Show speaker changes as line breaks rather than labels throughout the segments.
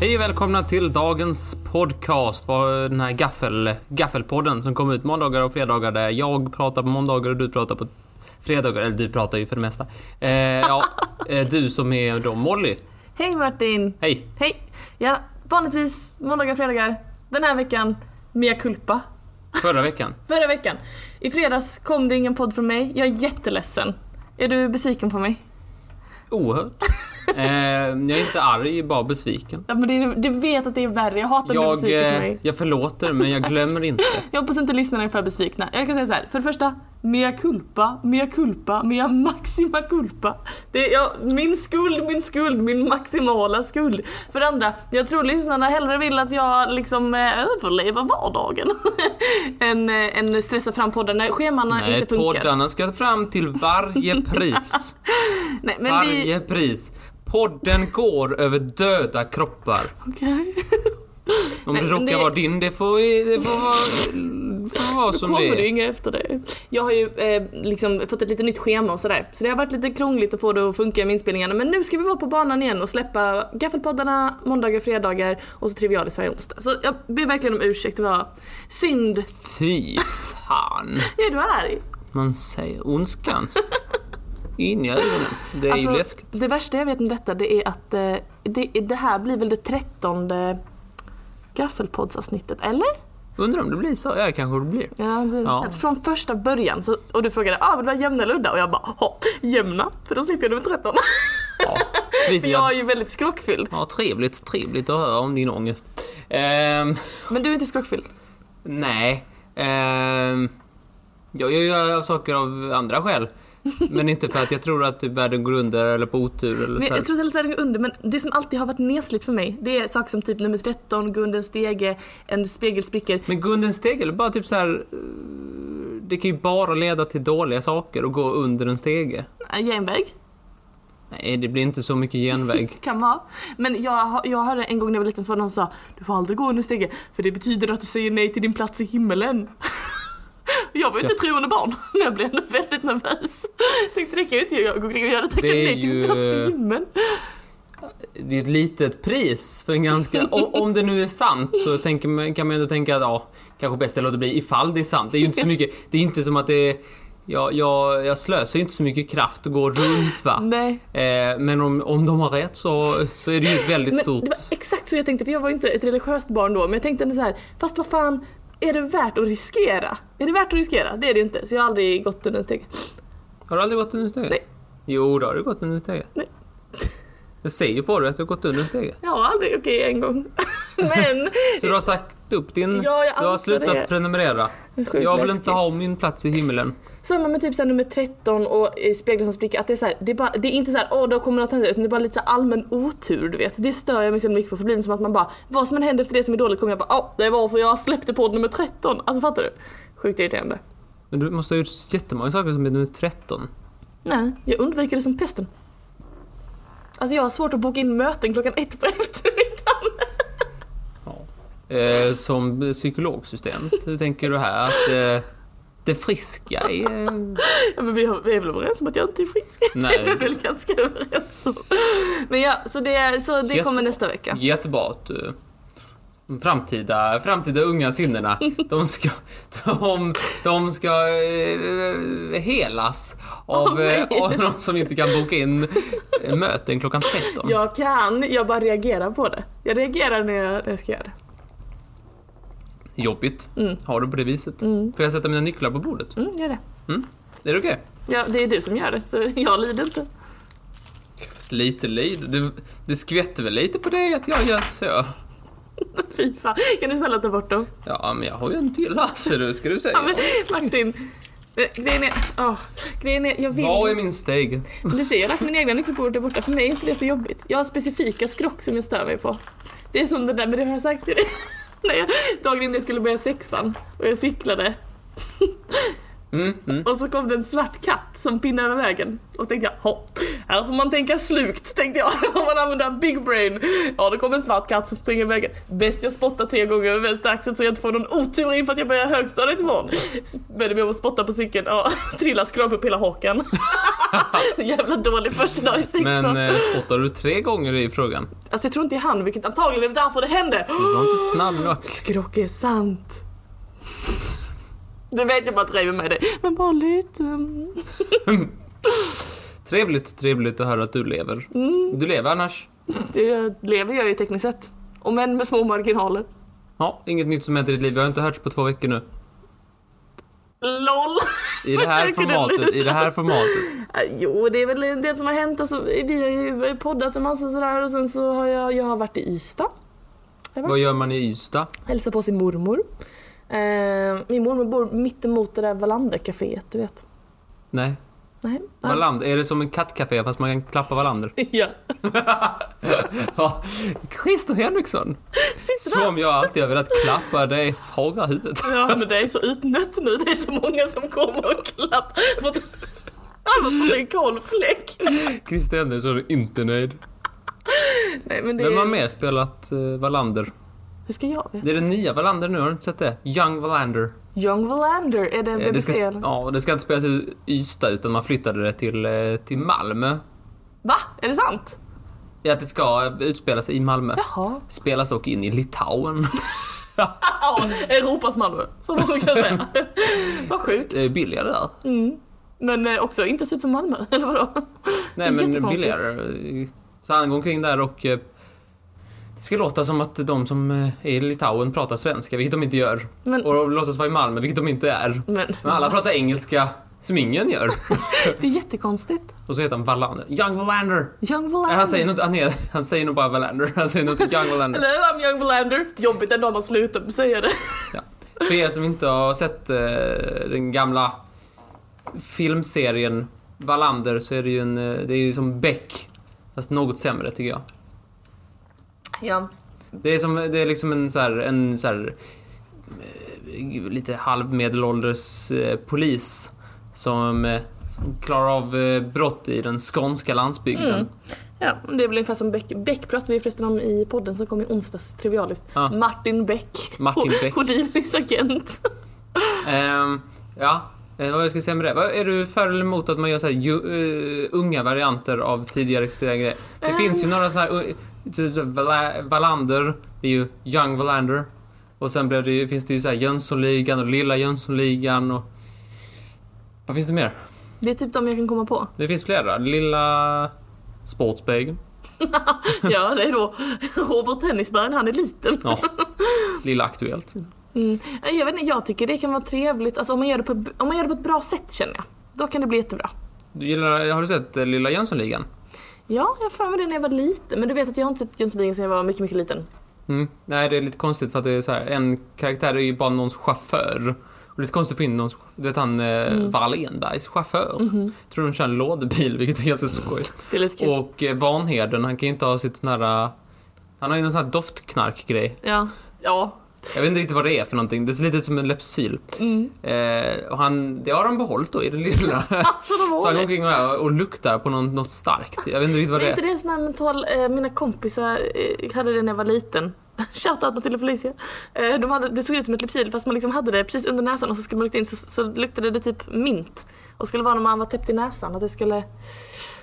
Hej och välkomna till dagens podcast. Var den här gaffel, gaffelpodden som kommer ut måndagar och fredagar där jag pratar på måndagar och du pratar på fredagar. Eller du pratar ju för det mesta. Eh, ja, eh, du som är då Molly.
Hej Martin!
Hej.
Hej! Ja, vanligtvis måndagar och fredagar. Den här veckan, mea culpa.
Förra veckan.
Förra veckan. I fredags kom det ingen podd från mig. Jag är jätteledsen. Är du besviken på mig?
Oerhört. Eh, jag är inte arg, bara besviken.
Ja, men det, du vet att det är värre. Jag hatar när du är
Jag,
besviken på
eh,
mig.
jag förlåter men jag glömmer inte.
Jag hoppas inte lyssnarna är för besvikna. Jag kan säga så här. för det första, mea culpa, mea culpa, mea maxima culpa. Det är, ja, min skuld, min skuld, min maximala skuld. För det andra, jag tror lyssnarna hellre vill att jag liksom eh, överlever vardagen. än, eh, än stressa fram podden när schemana
Nej,
inte funkar.
poddarna ska fram till varje pris.
Nej, men vi...
Varje pris. Podden går över döda kroppar.
Okej.
Om det
Nej, men
råkar
det-
vara din, det får, det får vara, det får vara som
kommer
det
det
är.
inga efter det. Jag har ju eh, liksom fått ett lite nytt schema och sådär. Så det har varit lite krångligt att få det att funka med inspelningarna. Men nu ska vi vara på banan igen och släppa gaffelpoddarna måndagar och fredagar och så Trivialis varje onsdag. Så jag ber verkligen om ursäkt, det var synd.
Fy fan.
Är du arg?
Man säger ondskans. In i ögonen. Det är
Alltså-
ju läskigt.
det värsta jag vet om detta det är att eh, det, det här blir väl det trettonde gaffelpoddsavsnittet, eller?
Undrar om det blir så? Ja, det kanske det blir.
Ja, det-
Ja.
Att Från första början, så, och du frågade ah, vill du ha jämna eller udda? Och jag bara "Ja, jämna, för då slipper jag nummer 13.
Ja. Så visst,
För Alltså, jag
jag...
är ju väldigt skrockfylld.
ja, trevligt, trevligt att höra om din ångest. Ehm,
Men du är inte skrockfylld?
nej. Ehm, jag jag gör saker av andra skäl. Men inte för att jag tror att typ världen går under eller på otur eller
Men
så här.
jag tror att världen går under, men det som alltid har varit nesligt för mig det är saker som typ nummer 13, Gundens stege, en spegel spricker.
Men Gundens stege, bara typ så här. eh, Det kan ju bara leda till dåliga saker och gå under en stege.
En genväg,
Nej, det blir inte så mycket genväg.
kan man ha. Men jag, har- jag hörde en gång när jag var liten så var det någon som sa Du får aldrig gå under stege, för det betyder att du säger nej till din plats i himmelen. Jag var ju inte troende barn, men jag blev ändå väldigt nervös. Jag tänkte det kan ju inte jag gå omkring och göra, tacka
Det är
nej till min
ju-
plats i himlen.
Det är ett litet pris för en ganska... o- Om det nu är sant så tänker man, kan man ju ändå tänka att ja, kanske bäst jag låter bli ifall det är sant. Det är ju inte så mycket... Det är inte som att det är... Jag, jag, jag slösar ju inte så mycket kraft att gå runt va.
Nej.
Eh, men om, om de har rätt så, så är det ju ett väldigt
Men
stort...
Det var exakt så jag tänkte, för jag var inte ett religiöst barn då, men jag tänkte ändå så här, fast vad fan, är det värt att riskera? Är det värt att riskera? Det är det inte, så jag har aldrig gått under en steg.
Har du aldrig gått under en stege?
Nej.
Jo, då har du gått under en stege.
Nej.
Jag ser ju på dig att du har gått under en stege.
Jag har aldrig, okej en gång. men,
Så du har sagt upp din...
Ja, jag
du har
antar
slutat
det.
prenumerera.
Sjukt
Jag vill
läskigt.
inte ha min plats i himlen.
samma med typ så här, nummer 13 och eh, speglar som spricker, att det är så här, det är, bara, det är inte så här, åh då kommer något hända, utan det är bara lite så här allmän otur du vet. Det stör jag mig så mycket på, för det blir som att man bara, vad som än händer efter det som är dåligt kommer jag bara, åh det var för jag släppte på nummer 13. Alltså fattar du? Sjukt irriterande.
Men du måste ha gjort jättemånga saker som är nummer 13.
Nej, jag undviker det som pesten. Alltså jag har svårt att boka in möten klockan ett på eftermiddagen.
Eh, som psykologstudent, hur tänker du här? Att eh, det friska är... eh,
Ja, men vi, har, vi är väl överens om att jag inte är frisk?
Nej.
Det är vi väl ganska överens om. Men ja, så det, så det
Jättebra.
kommer nästa vecka.
Jättebra att du... de Framtida, framtida unga sinnena, de ska, de, de ska eh, helas av,
Av mig.
eh, av någon som inte kan boka in eh, möten klockan 13.
Jag kan, jag bara reagerar på det. Jag reagerar när jag, när jag ska göra det.
Jobbigt.
Mm.
Har du på det viset. Får jag sätta mina nycklar på bordet?
Mm, gör det.
Är det okej?
Ja, det är du som gör det, så jag lider inte.
Fast Lite lyd. Det, det skvätter väl lite på dig att jag gör så?
Fy fan. Kan du snälla ta bort dem?
Ja, men jag har ju en till alltså, du ska du säga.
Ja, men Martin. eh, Grejen är, åh, grejen är, jag vill
Vad är min steg? Mm,
Du ser, jag har lagt mina egna nycklar på bordet där borta. För mig är inte det så jobbigt. Jag har specifika skrock som jag stör mig på. Det är som det där, men det har jag sagt till dig. När jag, dagen innan jag skulle börja sexan och jag cyklade
Mm, mm.
och så kom det en svart katt som pinnade över vägen. Och så tänkte jag, hopp, här får man tänka slukt, tänkte jag. Här får man använda big brain. Ja, det kom en svart katt som springer över vägen. Bäst jag spottar tre gånger över vänster axel så jag inte får någon otur inför att jag börjar högstadiet imorgon. Vände mig om och spottade på cykeln och trillade, skrapade upp hela hakan. Jävla dålig första dag i sexan.
Men eh, spottar du tre gånger i frågan?
Alltså jag tror inte det är han, vilket antagligen är därför det hände.
Du var inte snabb nog.
Skrock är sant. Du vet jag bara driver med dig, men bara lite.
Trevligt, trevligt att höra att du lever.
Mm.
Du lever annars?
Det lever jag ju tekniskt sett. Om men med små marginaler.
Ja, inget nytt som hänt i ditt liv. Jag har inte hörts på två veckor nu.
LOL!
I det här
Försöker du
formatet, i det här
luras?
formatet.
Eh, Jo, det är väl en del som har hänt. Alltså, vi har ju poddat en massa sådär och sen så har jag, jag har varit i Ystad.
Vad gör man i Ystad?
Hälsat på sin mormor. Eh, min mormor bor mittemot det där Wallander-caféet, du vet.
Nej,
Nej.
Wallander. Är det som en kattcafé fast man kan klappa Wallander?
Ja.
Ja, Christer Henriksson.
Sitter där.
Som jag alltid har velat klappa dig, haga huvudet.
Ja, men det är så utnött nu. Det är så många som kommer och klappar. Fått- Han har fått en kolfläck.
Christer Henriksson är inte nöjd.
Nej, men det
Vem har
är...
mer spelat eh, Wallander?
Hur ska jag veta?
Det är den nya Wallander nu, har du inte sett det? Young Wallander.
Young Wallander, är det en
Eh, Det ska,
BBC?
sp- ja, och det ska inte spelas i Ystad utan man flyttade det till, eh, till Malmö.
Va? Är det sant?
Ja, att det ska eh, utspela sig i Malmö.
Jaha.
Spelas dock in i Litauen.
Ja, Europas Malmö, som man brukar säga. Vad sjukt.
Det är billigare där.
Men eh, också inte ser ut som Malmö, eller vadå?
Nej, men
Jättekonstigt.
billigare. Så han går omkring där och... eh, Det ska låta som att de som eh, är i Litauen pratar svenska, vilket de inte gör.
Men-
Och de låtsas vara i Malmö, vilket de inte är.
Men
Men alla pratar engelska, som ingen gör.
det är jättekonstigt.
Och så heter han Wallander. Young Wallander!
Young
Nej,
Wallander.
han säger nog inte- han, är- han säger nog bara Wallander. Han säger nog inte Young Wallander.
Hello, I'm Young Wallander. Jobbigt ändå om man slutar säga det.
För er som inte har sett eh, den gamla filmserien Wallander så är det ju en... eh, Det är ju som Beck, fast något sämre tycker jag.
Ja.
Det är, som, det är liksom en så här, en så här eh, lite halvmedelålders eh, polis som, eh, som klarar av eh, brott i den skånska landsbygden.
Mm. Ja, det är väl ungefär som Beck. Beck pratade vi förresten om i podden som kom i onsdags, trivialiskt.
Ja.
Martin Beck.
Martin Beck.
Hodinis agent.
Ehm, ja, eh, vad jag skulle säga med det? Vad- Är du för eller emot att man gör så här, ju, eh, unga varianter av tidigare existerande grejer? Det
Ehm.
finns ju några sådana här... eh, typ så här Vala- Wallander, det är ju Young Wallander. Och sen blev det, ju- finns det ju så här Jönssonligan och Lilla Jönssonligan och... Vad finns det mer?
Det är typ de jag kan komma på.
Det finns flera. Lilla Sportspegeln.
Ja, det är då Robert Tennisberg, han är liten.
Ja. Lilla Aktuellt.
Mm. Nej, Jag, vet inte, jag tycker det kan vara trevligt, alltså, om, man gör det på, om man gör det på ett bra sätt känner jag. Då kan det bli jättebra.
Du gillar, har du sett eh, Lilla Jönssonligan?
Ja, jag har för mig det när jag var liten. Men du vet att jag har inte sett Jönssonligan sedan jag var mycket, mycket liten.
Mm. Nej, det är lite konstigt för att det är så här, en karaktär är ju bara någons chaufför. Och det är lite konstigt att få in någons, du vet han eh, Wallenbergs chaufför.
Mm. Mm-hmm.
Tror de kör en lådebil, vilket är ganska skoj.
Det är lite kul.
Och eh, Vanheden, han kan ju inte ha sitt sån här... eh, Han har ju någon sån här doftknarkgrej.
Ja. Ja.
Jag vet inte riktigt vad det är för någonting. Det ser lite ut som en Lypsyl.
Mm.
Eh, och han, det har han behållit då i den lilla.
Alltså de
Så
har
han går
det.
omkring och, och luktar på något, något starkt. Jag vet inte riktigt vad
Är
det
inte
är.
det en sån här mental, eh, mina kompisar eh, hade det när jag var liten. Shoutout Matilda och Felicia. Eh, de hade, det såg ut som ett Lypsyl fast man liksom hade det precis under näsan och så skulle man lukta in så, så luktade det typ mint. Och skulle vara när man var täppt i näsan, att det skulle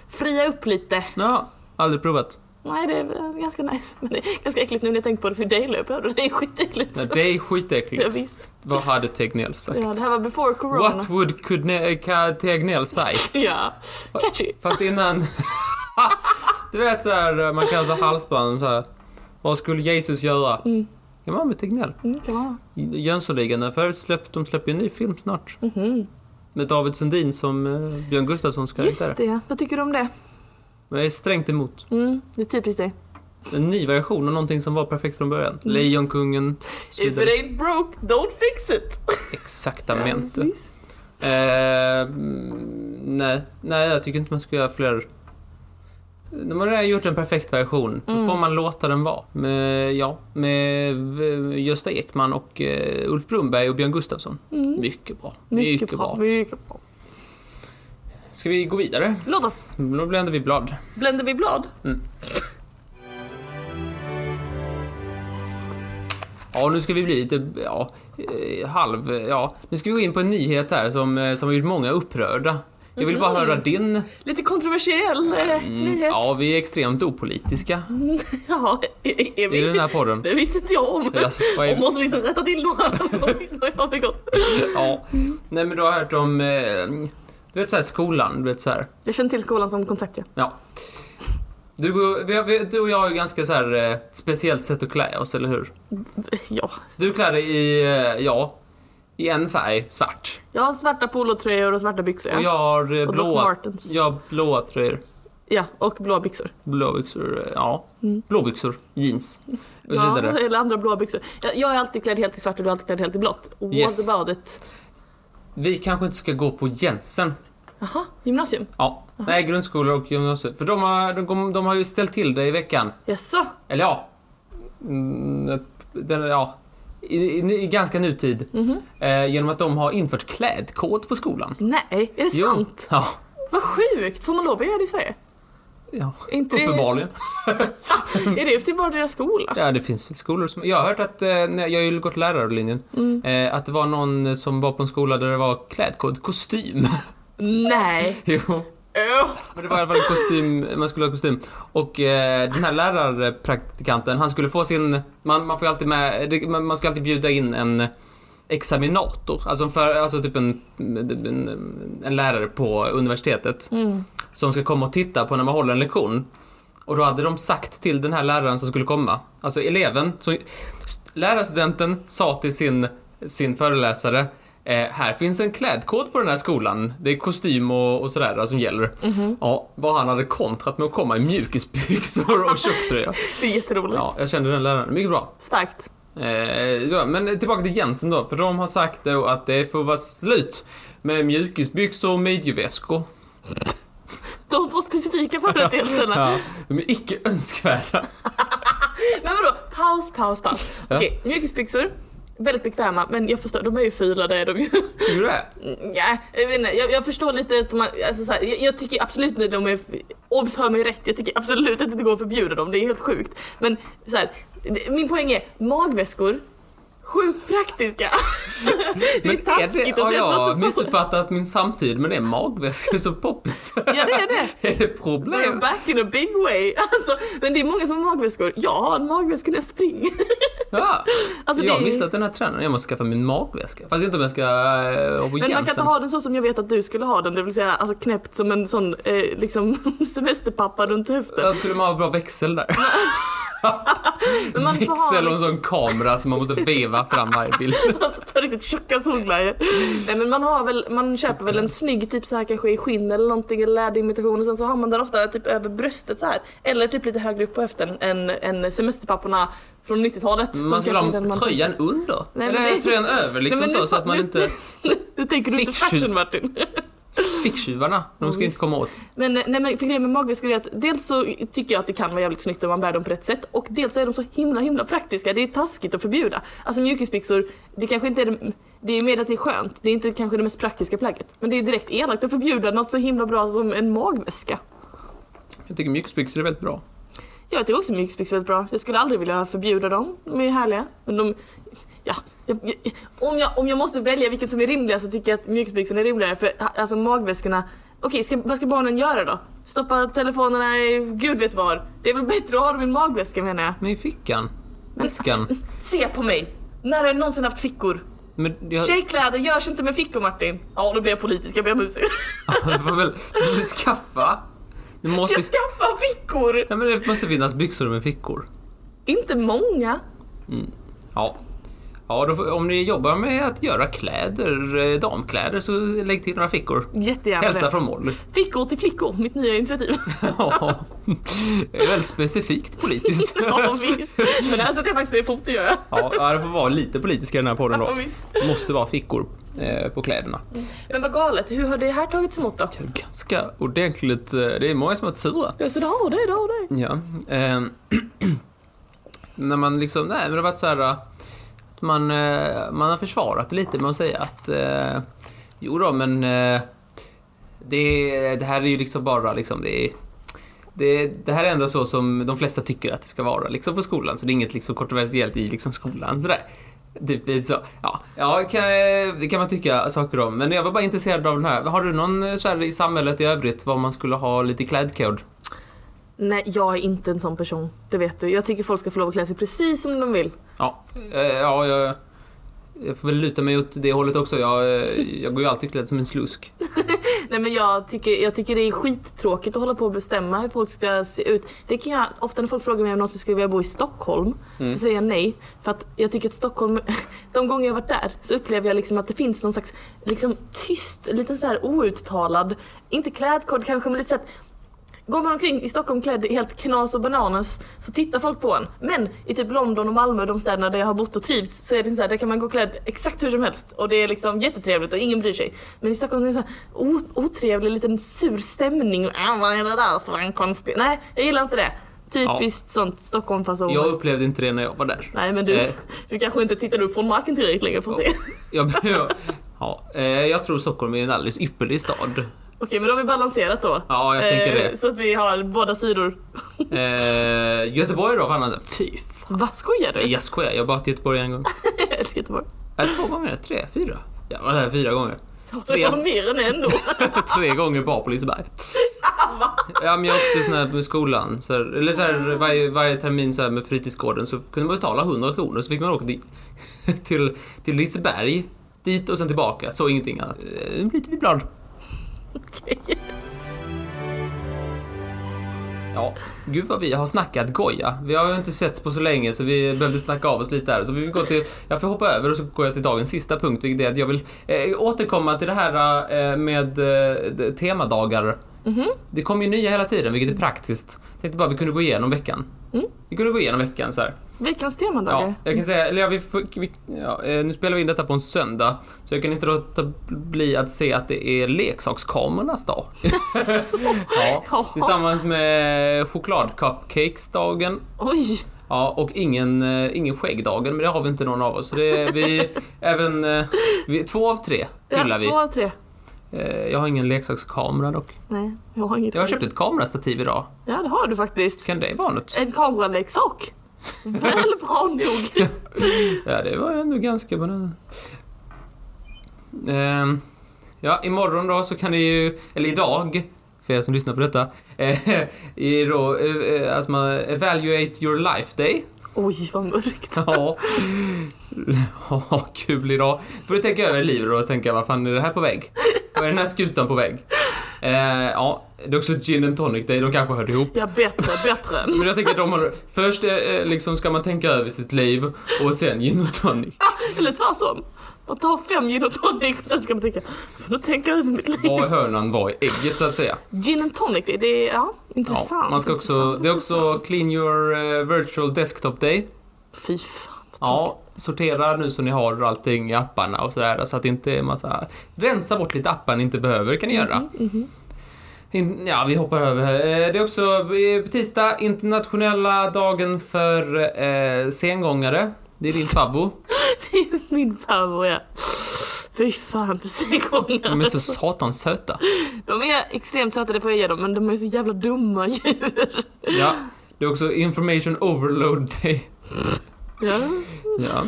fria upp lite.
Ja, aldrig provat.
Nej det är eh, ganska nice. Men det är ganska äckligt nu när jag tänker på det för dig löper jag och det är skitäckligt.
Nej, det är
Ja,
skitäckligt.
visst.
Vad hade Tegnell sagt?
Ja, det här var before corona.
What would could ne- eh, ka- Tegnell say?
Ja. Catchy.
Fast innan... du vet så här, eh, man kan ha halsband så här. Vad skulle Jesus göra?
Mm.
Ja, men med Tegnell.
Mm, kan vara.
Jönssonligan, där förut släpp, de släpper ju en ny film snart.
Mhm.
Med David Sundin som eh, Björn Gustafssons karaktär.
Just det, vad tycker du om det?
Men jag är strängt emot.
Mm, det är typiskt dig.
En ny version av någonting som var perfekt från
Mm.
början. Lejonkungen. så
If it
vidare.
ain't broke, don't fix it!
Exaktamente.
Ja, visst.
Eh, mm, nej. nej, jag tycker inte man ska göra fler. När man redan gjort en perfekt version,
Mm.
då får man låta den vara. Med, ja, med v- Gösta Ekman och eh, Ulf Brunberg och Björn Gustafsson.
Mm.
Mycket bra.
Mycket, bra. Mycket bra.
Ska vi gå vidare?
Låt oss!
Då bländar vi blad.
Bländer vi blad?
Ja, nu ska vi bli lite, ja, eh, halv, ja. Nu ska vi gå in på en nyhet här som, eh, som har gjort många upprörda. Jag vill bara höra din...
Lite kontroversiell eh, Mhm. nyhet.
Mm, Ja, vi är extremt opolitiska
Jaha, e- är, är
i
vi?
den här podden.
Det visste inte jag om.
Alltså, vad är-
Och måste liksom rätta till några som misstag jag har begått.
Ja. Nej men du har hört om, eh, du vet såhär skolan, du vet såhär.
Jag känner till skolan som koncept ja.
Ja. Du, går- vi har, vi, du och jag har ju ganska såhär eh, speciellt sätt att klä oss, eller hur?
Ja.
Du klär dig i, eh, ja, i en färg, svart.
Jag har svarta polotröjor och svarta byxor.
Och
Ja,
jag har eh,
och Doc
blåa,
Martens.
jag har blåa tröjor.
Ja, och blåa byxor.
Blåbyxor, eh, ja.
Mm.
Blåbyxor, jeans och så
Ja,
vidare.
eller andra blåa byxor. Jag, jag är alltid klädd helt i svart och du är alltid klädd helt i blått. What
Yes.
about it?
Vi kanske inte ska gå på Jensen.
Jaha, gymnasium?
Ja, nej grundskolor och gymnasiet. För de har, de, kom- de har ju ställt till det i veckan.
Jaså?
Eller ja. Mm, den, ja. I, i, I ganska nutid.
Mhm.
Eh, genom att de har infört klädkod på skolan.
Nej, är det
Jo.
sant?
Ja.
Vad sjukt! Får man lov att göra det i Sverige?
ja.
Inte det,
Uppenbarligen.
är det upp till vardera skola?
Ja, det finns väl skolor som... Jag har hört att, eh, när- jag har ju gått lärarlinjen,
Mm.
eh, att det var någon som var på en skola där det var klädkod, kostym.
Nej!
jo,
Öh.
men det var i alla fall en kostym, man skulle ha kostym. Och eh, den här lärarpraktikanten, han skulle få sin... Man, man får ju alltid med, det, man, man ska alltid bjuda in en examinator, alltså, en för, alltså typ en, en, en lärare på universitetet
Mm.
som ska komma och titta på när man håller en lektion. Och då hade de sagt till den här läraren som skulle komma, alltså eleven, så lärarstudenten sa till sin, sin föreläsare eh, här finns en klädkod på den här skolan. Det är kostym och, och sådär alltså, som gäller.
Mhm.
Ja, vad han hade kontrat med att komma i mjukisbyxor och tjocktröja.
Det är jätteroligt.
Ja, jag kände den läraren. Mycket bra.
Starkt.
Eh, så, men tillbaka till Jensen då, för de har sagt då att det får vara slut med mjukisbyxor och midjeväskor.
De två specifika företeelserna.
Ja, de är icke önskvärda.
Men vadå? Paus, paus, paus.
Ja.
Okej, mjukisbyxor. Väldigt bekväma, men jag förstår, de är ju filade är de ju.
Tycker du det?
Nej, jag vet inte. Jag, jag förstår lite att man, alltså så här, jag, jag tycker absolut inte de är, obs hör mig rätt, jag tycker absolut inte det går att förbjuda dem, det är helt sjukt. Men så här, det- min poäng är, magväskor, sjukt praktiska. det är taskigt att
har
säga att man
jag
inte får.
missuppfattat min samtid men det är magväskor som poppis?
Ja det är det.
är det
We're
problem?
back in a big way. Alltså, men det är många som har magväskor. Jag har en magväska när jag springer.
Ja.
Alltså,
jag
det
har
är-
missat den här trenden, jag måste skaffa min magväska. Fast inte om jag ska eh, ha på
Men man kan inte
Jensen.
ha den så som jag vet att du skulle ha den, det vill säga alltså, knäppt som en sån eh, liksom, semesterpappa runt höften.
Där skulle man ha bra växel där.
Men man får ha liksom-
växel och en sån kamera som man måste veva fram varje bild.
Alltså på riktigt tjocka solglajjor. Nej men man har väl, man köper väl en snygg typ så här kanske i skinn eller någonting eller läderimitation och sen så har man den ofta typ över bröstet så här. Eller typ lite högre upp på höften än, än semesterpapporna från 90-talet. som
Man skulle
kanske den
ha tröjan under.
Nej, men
Eller
det-
tröjan över liksom
Nej, men
så,
nu
så att man
fa-
inte...
Nu tänker du inte
Fiction.
fashion Martin.
Ficktjuvarna, de ska
Ja,
inte komma åt.
Men, nej, men för grejen med magväskor är att dels så tycker jag att det kan vara jävligt snyggt om man bär dem på rätt sätt och dels så är de så himla himla praktiska. Det är ju taskigt att förbjuda. Alltså mjukisbyxor, det kanske inte är det, det är mer att det är skönt. Det är inte kanske det mest praktiska plagget. Men det är direkt elakt att förbjuda något så himla bra som en magväska.
Jag tycker mjukisbyxor är väldigt bra.
Jag tycker också mjukisbyxor är väldigt bra. Jag skulle aldrig vilja förbjuda dem. De är härliga. Men de, ja. Jag, jag, om, jag, om jag måste välja vilket som är rimligare så tycker jag att mjukisbyxorna är rimligare. För ha- alltså magväskorna. Okej, ska, vad ska barnen göra då? Stoppa telefonerna i gud vet var. Det är väl bättre att ha dem i en magväska menar jag.
Men i fickan? Väskan?
Se på mig! När har jag någonsin haft fickor?
Men jag...
Tjejkläder görs inte med fickor Martin. Ja, nu blir jag politisk. Jag ber om ursäkt.
Du får väl du får skaffa. Det
Ska
måste,
jag skaffa fickor?
ja, men det måste finnas byxor med fickor.
Inte många.
Ja. Ja, då, får- om ni jobbar med att göra kläder, eh, damkläder, så lägg till några fickor.
Jättegärna
Hälsa
det.
från Molly.
Fickor till flickor, mitt nya initiativ.
Ja. Det är väldigt specifikt politiskt.
Ja visst, men det här sätter jag faktiskt ner foten gör jag.
Ja, ja, det får vara lite politiska i den här podden
Ja,
då.
visst.
Måste vara fickor eh, på kläderna.
Men vad galet, hur har det här tagits emot då?
Det är ganska ordentligt. eh, Det är många som har varit sura.
Ja, så det har det, det har det.
Ja. ehm, när man liksom, nej men det har varit så här eh, att man, eh, man har försvarat det lite med att säga att eh, jo då men eh, det, det här är ju liksom bara liksom det är det, det här är ändå så som de flesta tycker att det ska vara liksom på skolan, så det är inget liksom kontroversiellt i liksom skolan. Sådär. Typ lite så. Ja, ja kan, det kan man tycka saker om. Men jag var bara intresserad av den här. Har du någon eh, så här i samhället i övrigt vad man skulle ha lite klädkod?
Nej, jag är inte en sån person. Det vet du. Jag tycker folk ska få lov att klä sig precis som de vill.
Ja, eh, ja jag, jag får väl luta mig åt det hållet också. Jag, eh, jag går ju alltid klädd som en slusk.
Nej men jag tycker, jag tycker det är skittråkigt att hålla på och bestämma hur folk ska se ut. Det kan jag, ofta när folk frågar mig om någonsin skulle vilja bo i Stockholm så säger jag nej. För att jag tycker att Stockholm, de gånger jag har varit där så upplever jag liksom att det finns någon slags liksom, tyst, liten så här outtalad, inte klädkod kanske men lite så att Går man omkring i Stockholm klädd i helt knas och bananas så tittar folk på en. Men i typ London och Malmö, de städerna där jag har bott och trivts, så är det så här, där kan man gå klädd exakt hur som helst och det är liksom jättetrevligt och ingen bryr sig. Men i Stockholm är det så här o- otrevlig liten sur stämning. Äh, vad är det där för en konstig... Nej, jag gillar inte det. Typiskt sånt Stockholm-fasoner.
Jag upplevde inte det när jag var där.
Nej men du,
Eh.
du kanske inte tittar upp från marken tillräckligt länge för att se.
Jag, jag, ja, eh, jag tror Stockholm är en alldeles ypperlig stad.
Okej men då har vi balanserat då. Eh,
Ja, jag tänker det.
Så att vi har båda sidor.
Eh, Göteborg då, fan Fy fan.
Vad skojar du?
Nej, Jag skojar, jag har bara varit i Göteborg en gång.
Jag älskar Göteborg.
Är det två gånger? Tre? Fyra? Jag var där fyra gånger.
Det var mer än en då.
Tre gånger bara på Liseberg. ja, men jag åkte sån här med skolan, så här, eller så här, varje, varje termin så här med fritidsgården så kunde man betala 100 kronor så fick man åka till, till, till Liseberg, dit och sen tillbaka, så ingenting annat. Eh, Nu byter vi blad.
Okej.
Ja, gud vad vi har snackat goja. Vi har ju inte setts på så länge så vi behövde snacka av oss lite där. Så vi vill gå till, jag får hoppa över och så går jag till dagens sista punkt, vilket är att jag vill eh, återkomma till det här eh, med eh, de- temadagar. Det kommer ju nya hela tiden, vilket är praktiskt. Tänkte bara vi kunde gå igenom veckan.
Mm.
Vi kunde gå igenom veckan så här.
Veckans
Ja,
temadagar.
jag kan säga, eller ja, vi, får- vi, ja, eh, nu spelar vi in detta på en söndag, så jag kan inte låta bli att se att det är leksakskamerornas dag. ja,
Ja.
tillsammans med chokladcupcakesdagen.
Oj!
Ja, och ingen, eh, ingen skäggdagen, men det har vi inte någon av oss. Så det är vi, även, eh, vi, två av tre hyllar
Ja,
vi.
två av tre.
Eh, Jag har ingen leksakskamera dock.
Nej, jag har inget.
Jag har köpt ett kamerastativ idag.
Ja, det har du faktiskt.
Kan det vara något?
En kameraleksak. Väl bra nog.
Ja, det var ju ändå ganska bra. Ehm, ja, imorgon då så kan ni ju, eller idag, för er som lyssnar på detta, eh, i då, eh, eh, alltså man evaluate your life day.
Oj, vad mörkt.
Ja, Ja, kul idag. Får du tänka över livet då och tänka, vad fan är det här på väg? Vad är den här skutan på väg? Eh, ja, det är också gin and tonic day, de kanske hörde ihop.
Ja, bättre, bättre.
Men jag tänker att de håller, först eh, eh, liksom ska man tänka över sitt liv och sen gin och tonic.
Eller tvärtom. Man tar fem gin och tonic och sen ska man tänka, för nu tänker jag över mitt liv.
var hönan var i ägget så att säga.
Gin and tonic, det det är ja, intressant.
Ja, man ska också,
intressant,
det är också
intressant.
Clean Your eh, Virtual Desktop Day.
Fy fan. vad
Ja, sortera nu så ni har allting i apparna och sådär så att det inte är massa... Rensa bort lite appar ni inte behöver kan ni göra. In, ja, vi hoppar över. här. Eh, Det är också eh, på tisdag, internationella dagen för eh, sengångare. Det är din favvo.
tråkigt. Det är Min farbror ja. Fy fan för
De är
sengångare.
så satans söta.
De är extremt söta, det får jag ge dem, men de är så jävla dumma djur.
Ja. Det är också information overload day.
Ja.
Ja.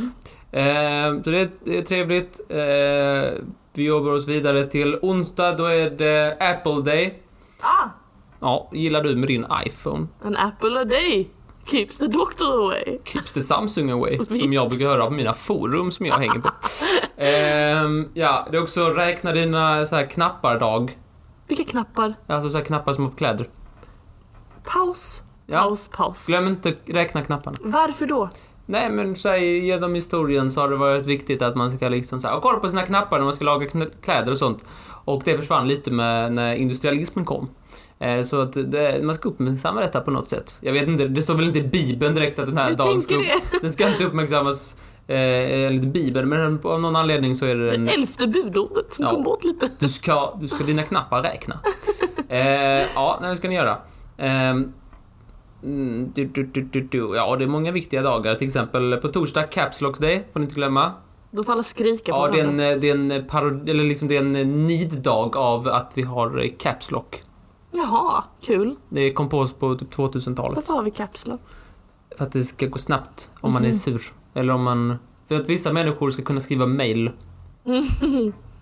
Eh, så det är, det är trevligt. Eh, vi jobbar oss vidare till onsdag, då är det Apple Day.
Ah,
Ja, gillar du med din iPhone?
an apple a day keeps the doctor away.
Keeps the Samsung away, som
Visst.
jag brukar höra på mina forum som jag hänger på. Ehm, ja, det är också räkna dina så här knappar-dag.
Vilka knappar?
Alltså så här knappar som har på kläder.
Paus,
Ja,
paus, paus.
glöm inte räkna knapparna.
Varför då?
Nej, men så här, genom historien så har det varit viktigt att man ska liksom så här, kolla på sina knappar när man ska laga kn- kläder och sånt. Och det försvann lite med när industrialismen kom. Eh, Så att det, man ska uppmärksamma detta på något sätt. Jag vet inte, det står väl inte i Bibeln direkt att den här
Jag
dagen ska,
tänker
upp,
det.
den ska inte uppmärksammas eh, enligt Bibeln, men av någon anledning så är det en,
Det elfte budordet som
Ja.
kom bort lite.
du ska, du ska dina knappar räkna. Eh, ja, nej, det ska ni göra. Ehm, mm, du, du, du, du, du. Ja, det är många viktiga dagar. Till exempel på torsdag, Caps Lock Day, får ni inte glömma.
Då får alla skrika på
Ja, det är en,
varandra.
eh, det är en, paro- eller liksom, det är en niddag av att vi har eh, Caps Lock.
Jaha, kul.
Det kom på oss på typ 2000-talet.
Varför har vi kapslar?
För att det ska gå snabbt om man är sur. Eller om man För att vissa människor ska kunna skriva mail.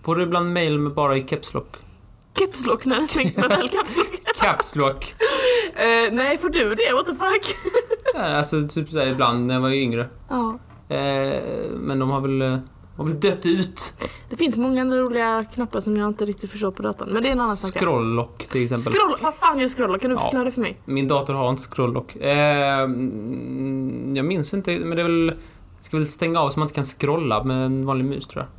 Får du ibland mail med bara i caps lock?
Caps lock, nej, tänk mig väl caps lock.
Caps lock!
Eh, nej, får du det? What the fuck?
Ja, Alltså typ såhär ibland när jag var yngre.
Ja.
Eh, men de har väl, eh, har väl dött ut.
Det finns många andra roliga knappar som jag inte riktigt förstår på datorn. Men det är en annan sak.
Scrolllock till exempel.
Scroll! Vad fan gör scroll? Kan du
Ja.
förklara det för mig?
Min dator har inte scrolllock. Eh, mm, jag minns inte, men det är väl... Ska väl stänga av så man inte kan scrolla med en vanlig mus tror jag.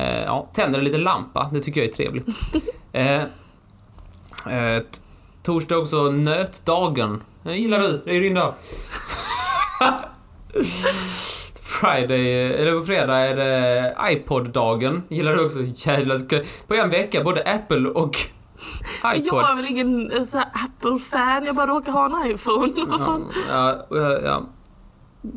Eh, ja, tänder en liten lampa, det tycker jag är trevligt. eh, eh, t- torsdag också, nötdagen. Den gillar du, det är din dag. Friday, eh, eller på fredag är det iPod-dagen. Gillar du också? Jävlar, ska- på en vecka både Apple och iPod.
Jag är väl ingen eh, så här, Apple-fan, jag bara råkar ha en iPhone. Vad fan?
Ja, ja, ja.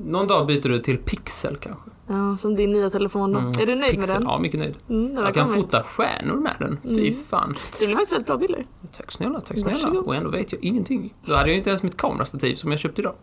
Någon dag byter du till Pixel kanske?
Ja, som din nya telefon då.
Mm,
Är du nöjd
Pixel,
med den?
Ja, mycket nöjd.
Mm, den
Jag kan
verkar nöjd.
fota stjärnor med den. Fy
Mm.
fan.
Det blir faktiskt väldigt bra bilder.
Tack snälla, tack snälla.
Varsågod.
Och ändå vet jag ingenting. Då hade jag ju inte ens mitt kamerastativ som jag köpte idag.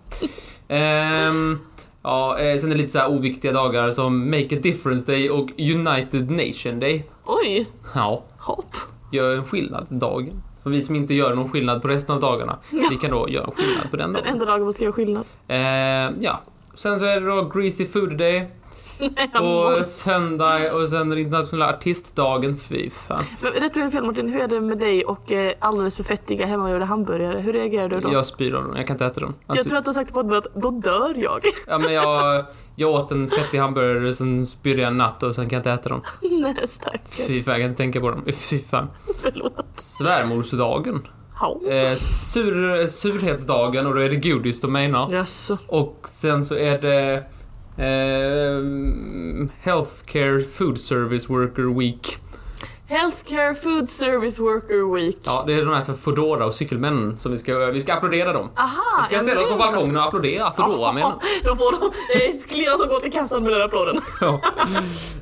Ehm, ja, eh, sen är det lite så här oviktiga dagar som Make a Difference Day och United Nation Day.
Oj!
Ja,
Hopp!
gör en skillnad dagen. För vi som inte gör någon skillnad på resten av dagarna, vi kan då göra en skillnad på den
Den
dagen.
enda dagen man ska göra skillnad.
Ehm, ja. Sen så är det då Greasy Food Day.
Nej, jag mår.
Och söndag och sen den internationella artistdagen, fy fan.
Men Rätt mig om jag har fel Martin, hur är det med dig och eh, alldeles för fettiga hemmagjorda hamburgare? Hur reagerar du då?
Jag spyr av dem, jag kan inte äta dem.
Jag
Alltså,
tror att du har sagt på podden att då dör jag.
ja, men jag, jag åt en fettig hamburgare, sen spydde jag en natt och sen kan jag inte äta dem.
Nej stackare,
Fy fan, jag kan inte tänka på dem. Fy fan.
förlåt.
Svärmorsdagen.
Hau.
Eh, sur, surhetsdagen och då är det godis de menar.
Jaså?
Och sen så är det eh, Healthcare Food Service Worker Week.
Healthcare Food Service Worker Week.
Ja, det är de här som Foodora och cykelmännen som vi ska, vi ska applådera dem.
Aha!
Vi ska
ja, men
ställa oss
det
på
är
balkongen och applådera för då, men...
Ja, Då får de eh, sklera som går till kassan med den här applåden.
ja.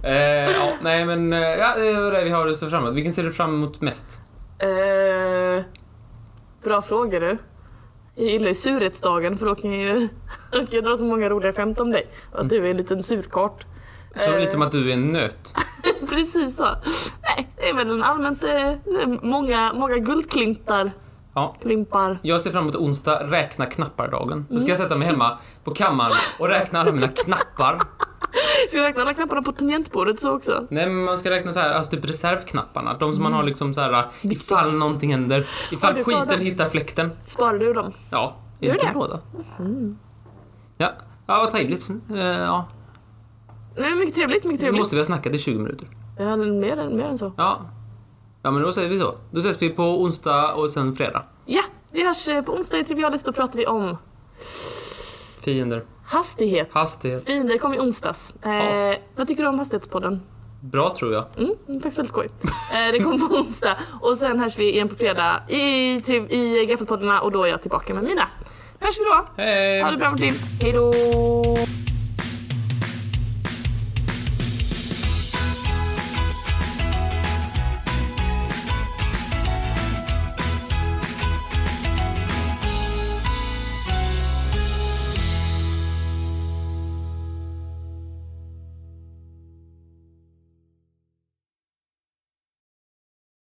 Eh, ja, nej men, eh, ja, det var det vi har att se fram emot. Vilken ser du fram emot mest?
Eh, bra fråga du. Jag gillar ju surhetsdagen för då kan jag ju då kan jag dra så många roliga skämt om dig. Och att du är en liten surkart.
Så
Eh.
lite som att du är en nöt.
Precis så. Nej, det är väl en allmänt eh, många, många guldklimpar.
Ja.
Klimpar.
Jag ser fram emot onsdag, räkna knappar-dagen. Då ska jag sätta mig hemma på kammaren och räkna alla mina knappar.
Ska jag räkna alla knapparna på tangentbordet så också?
Nej men man ska räkna så här, alltså typ reservknapparna. De som man har liksom så här, ifall någonting händer.
Har
Ifall
du kvar
skiten
dem?
hittar fläkten.
Sparar du dem?
Ja, i
Gör
vilken
det?
låda. Mm. Ja. ja, vad trevligt. Eh, ja.
Nej, mycket trevligt, mycket
Nu
trevligt.
måste vi ha snackat i 20 minuter.
Ja, mer, än, mer än så.
Ja. Ja men då säger vi så. Då ses vi på onsdag och sen fredag.
Ja, vi hörs eh, på onsdag i Trivialis. Då pratar vi om
Fiender.
hastighet.
Hastighet.
Fiender kom i onsdags. Eh,
Ja.
Vad tycker du om hastighetspodden?
Bra tror jag.
Mm, det är faktiskt väldigt skoj. Eh, det kommer på onsdag och sen hörs vi igen på fredag i, triv- i Gaffelpoddarna och då är jag tillbaka med mina. Hörs vi då!
Hej!
Ha det bra Martin, hejdå!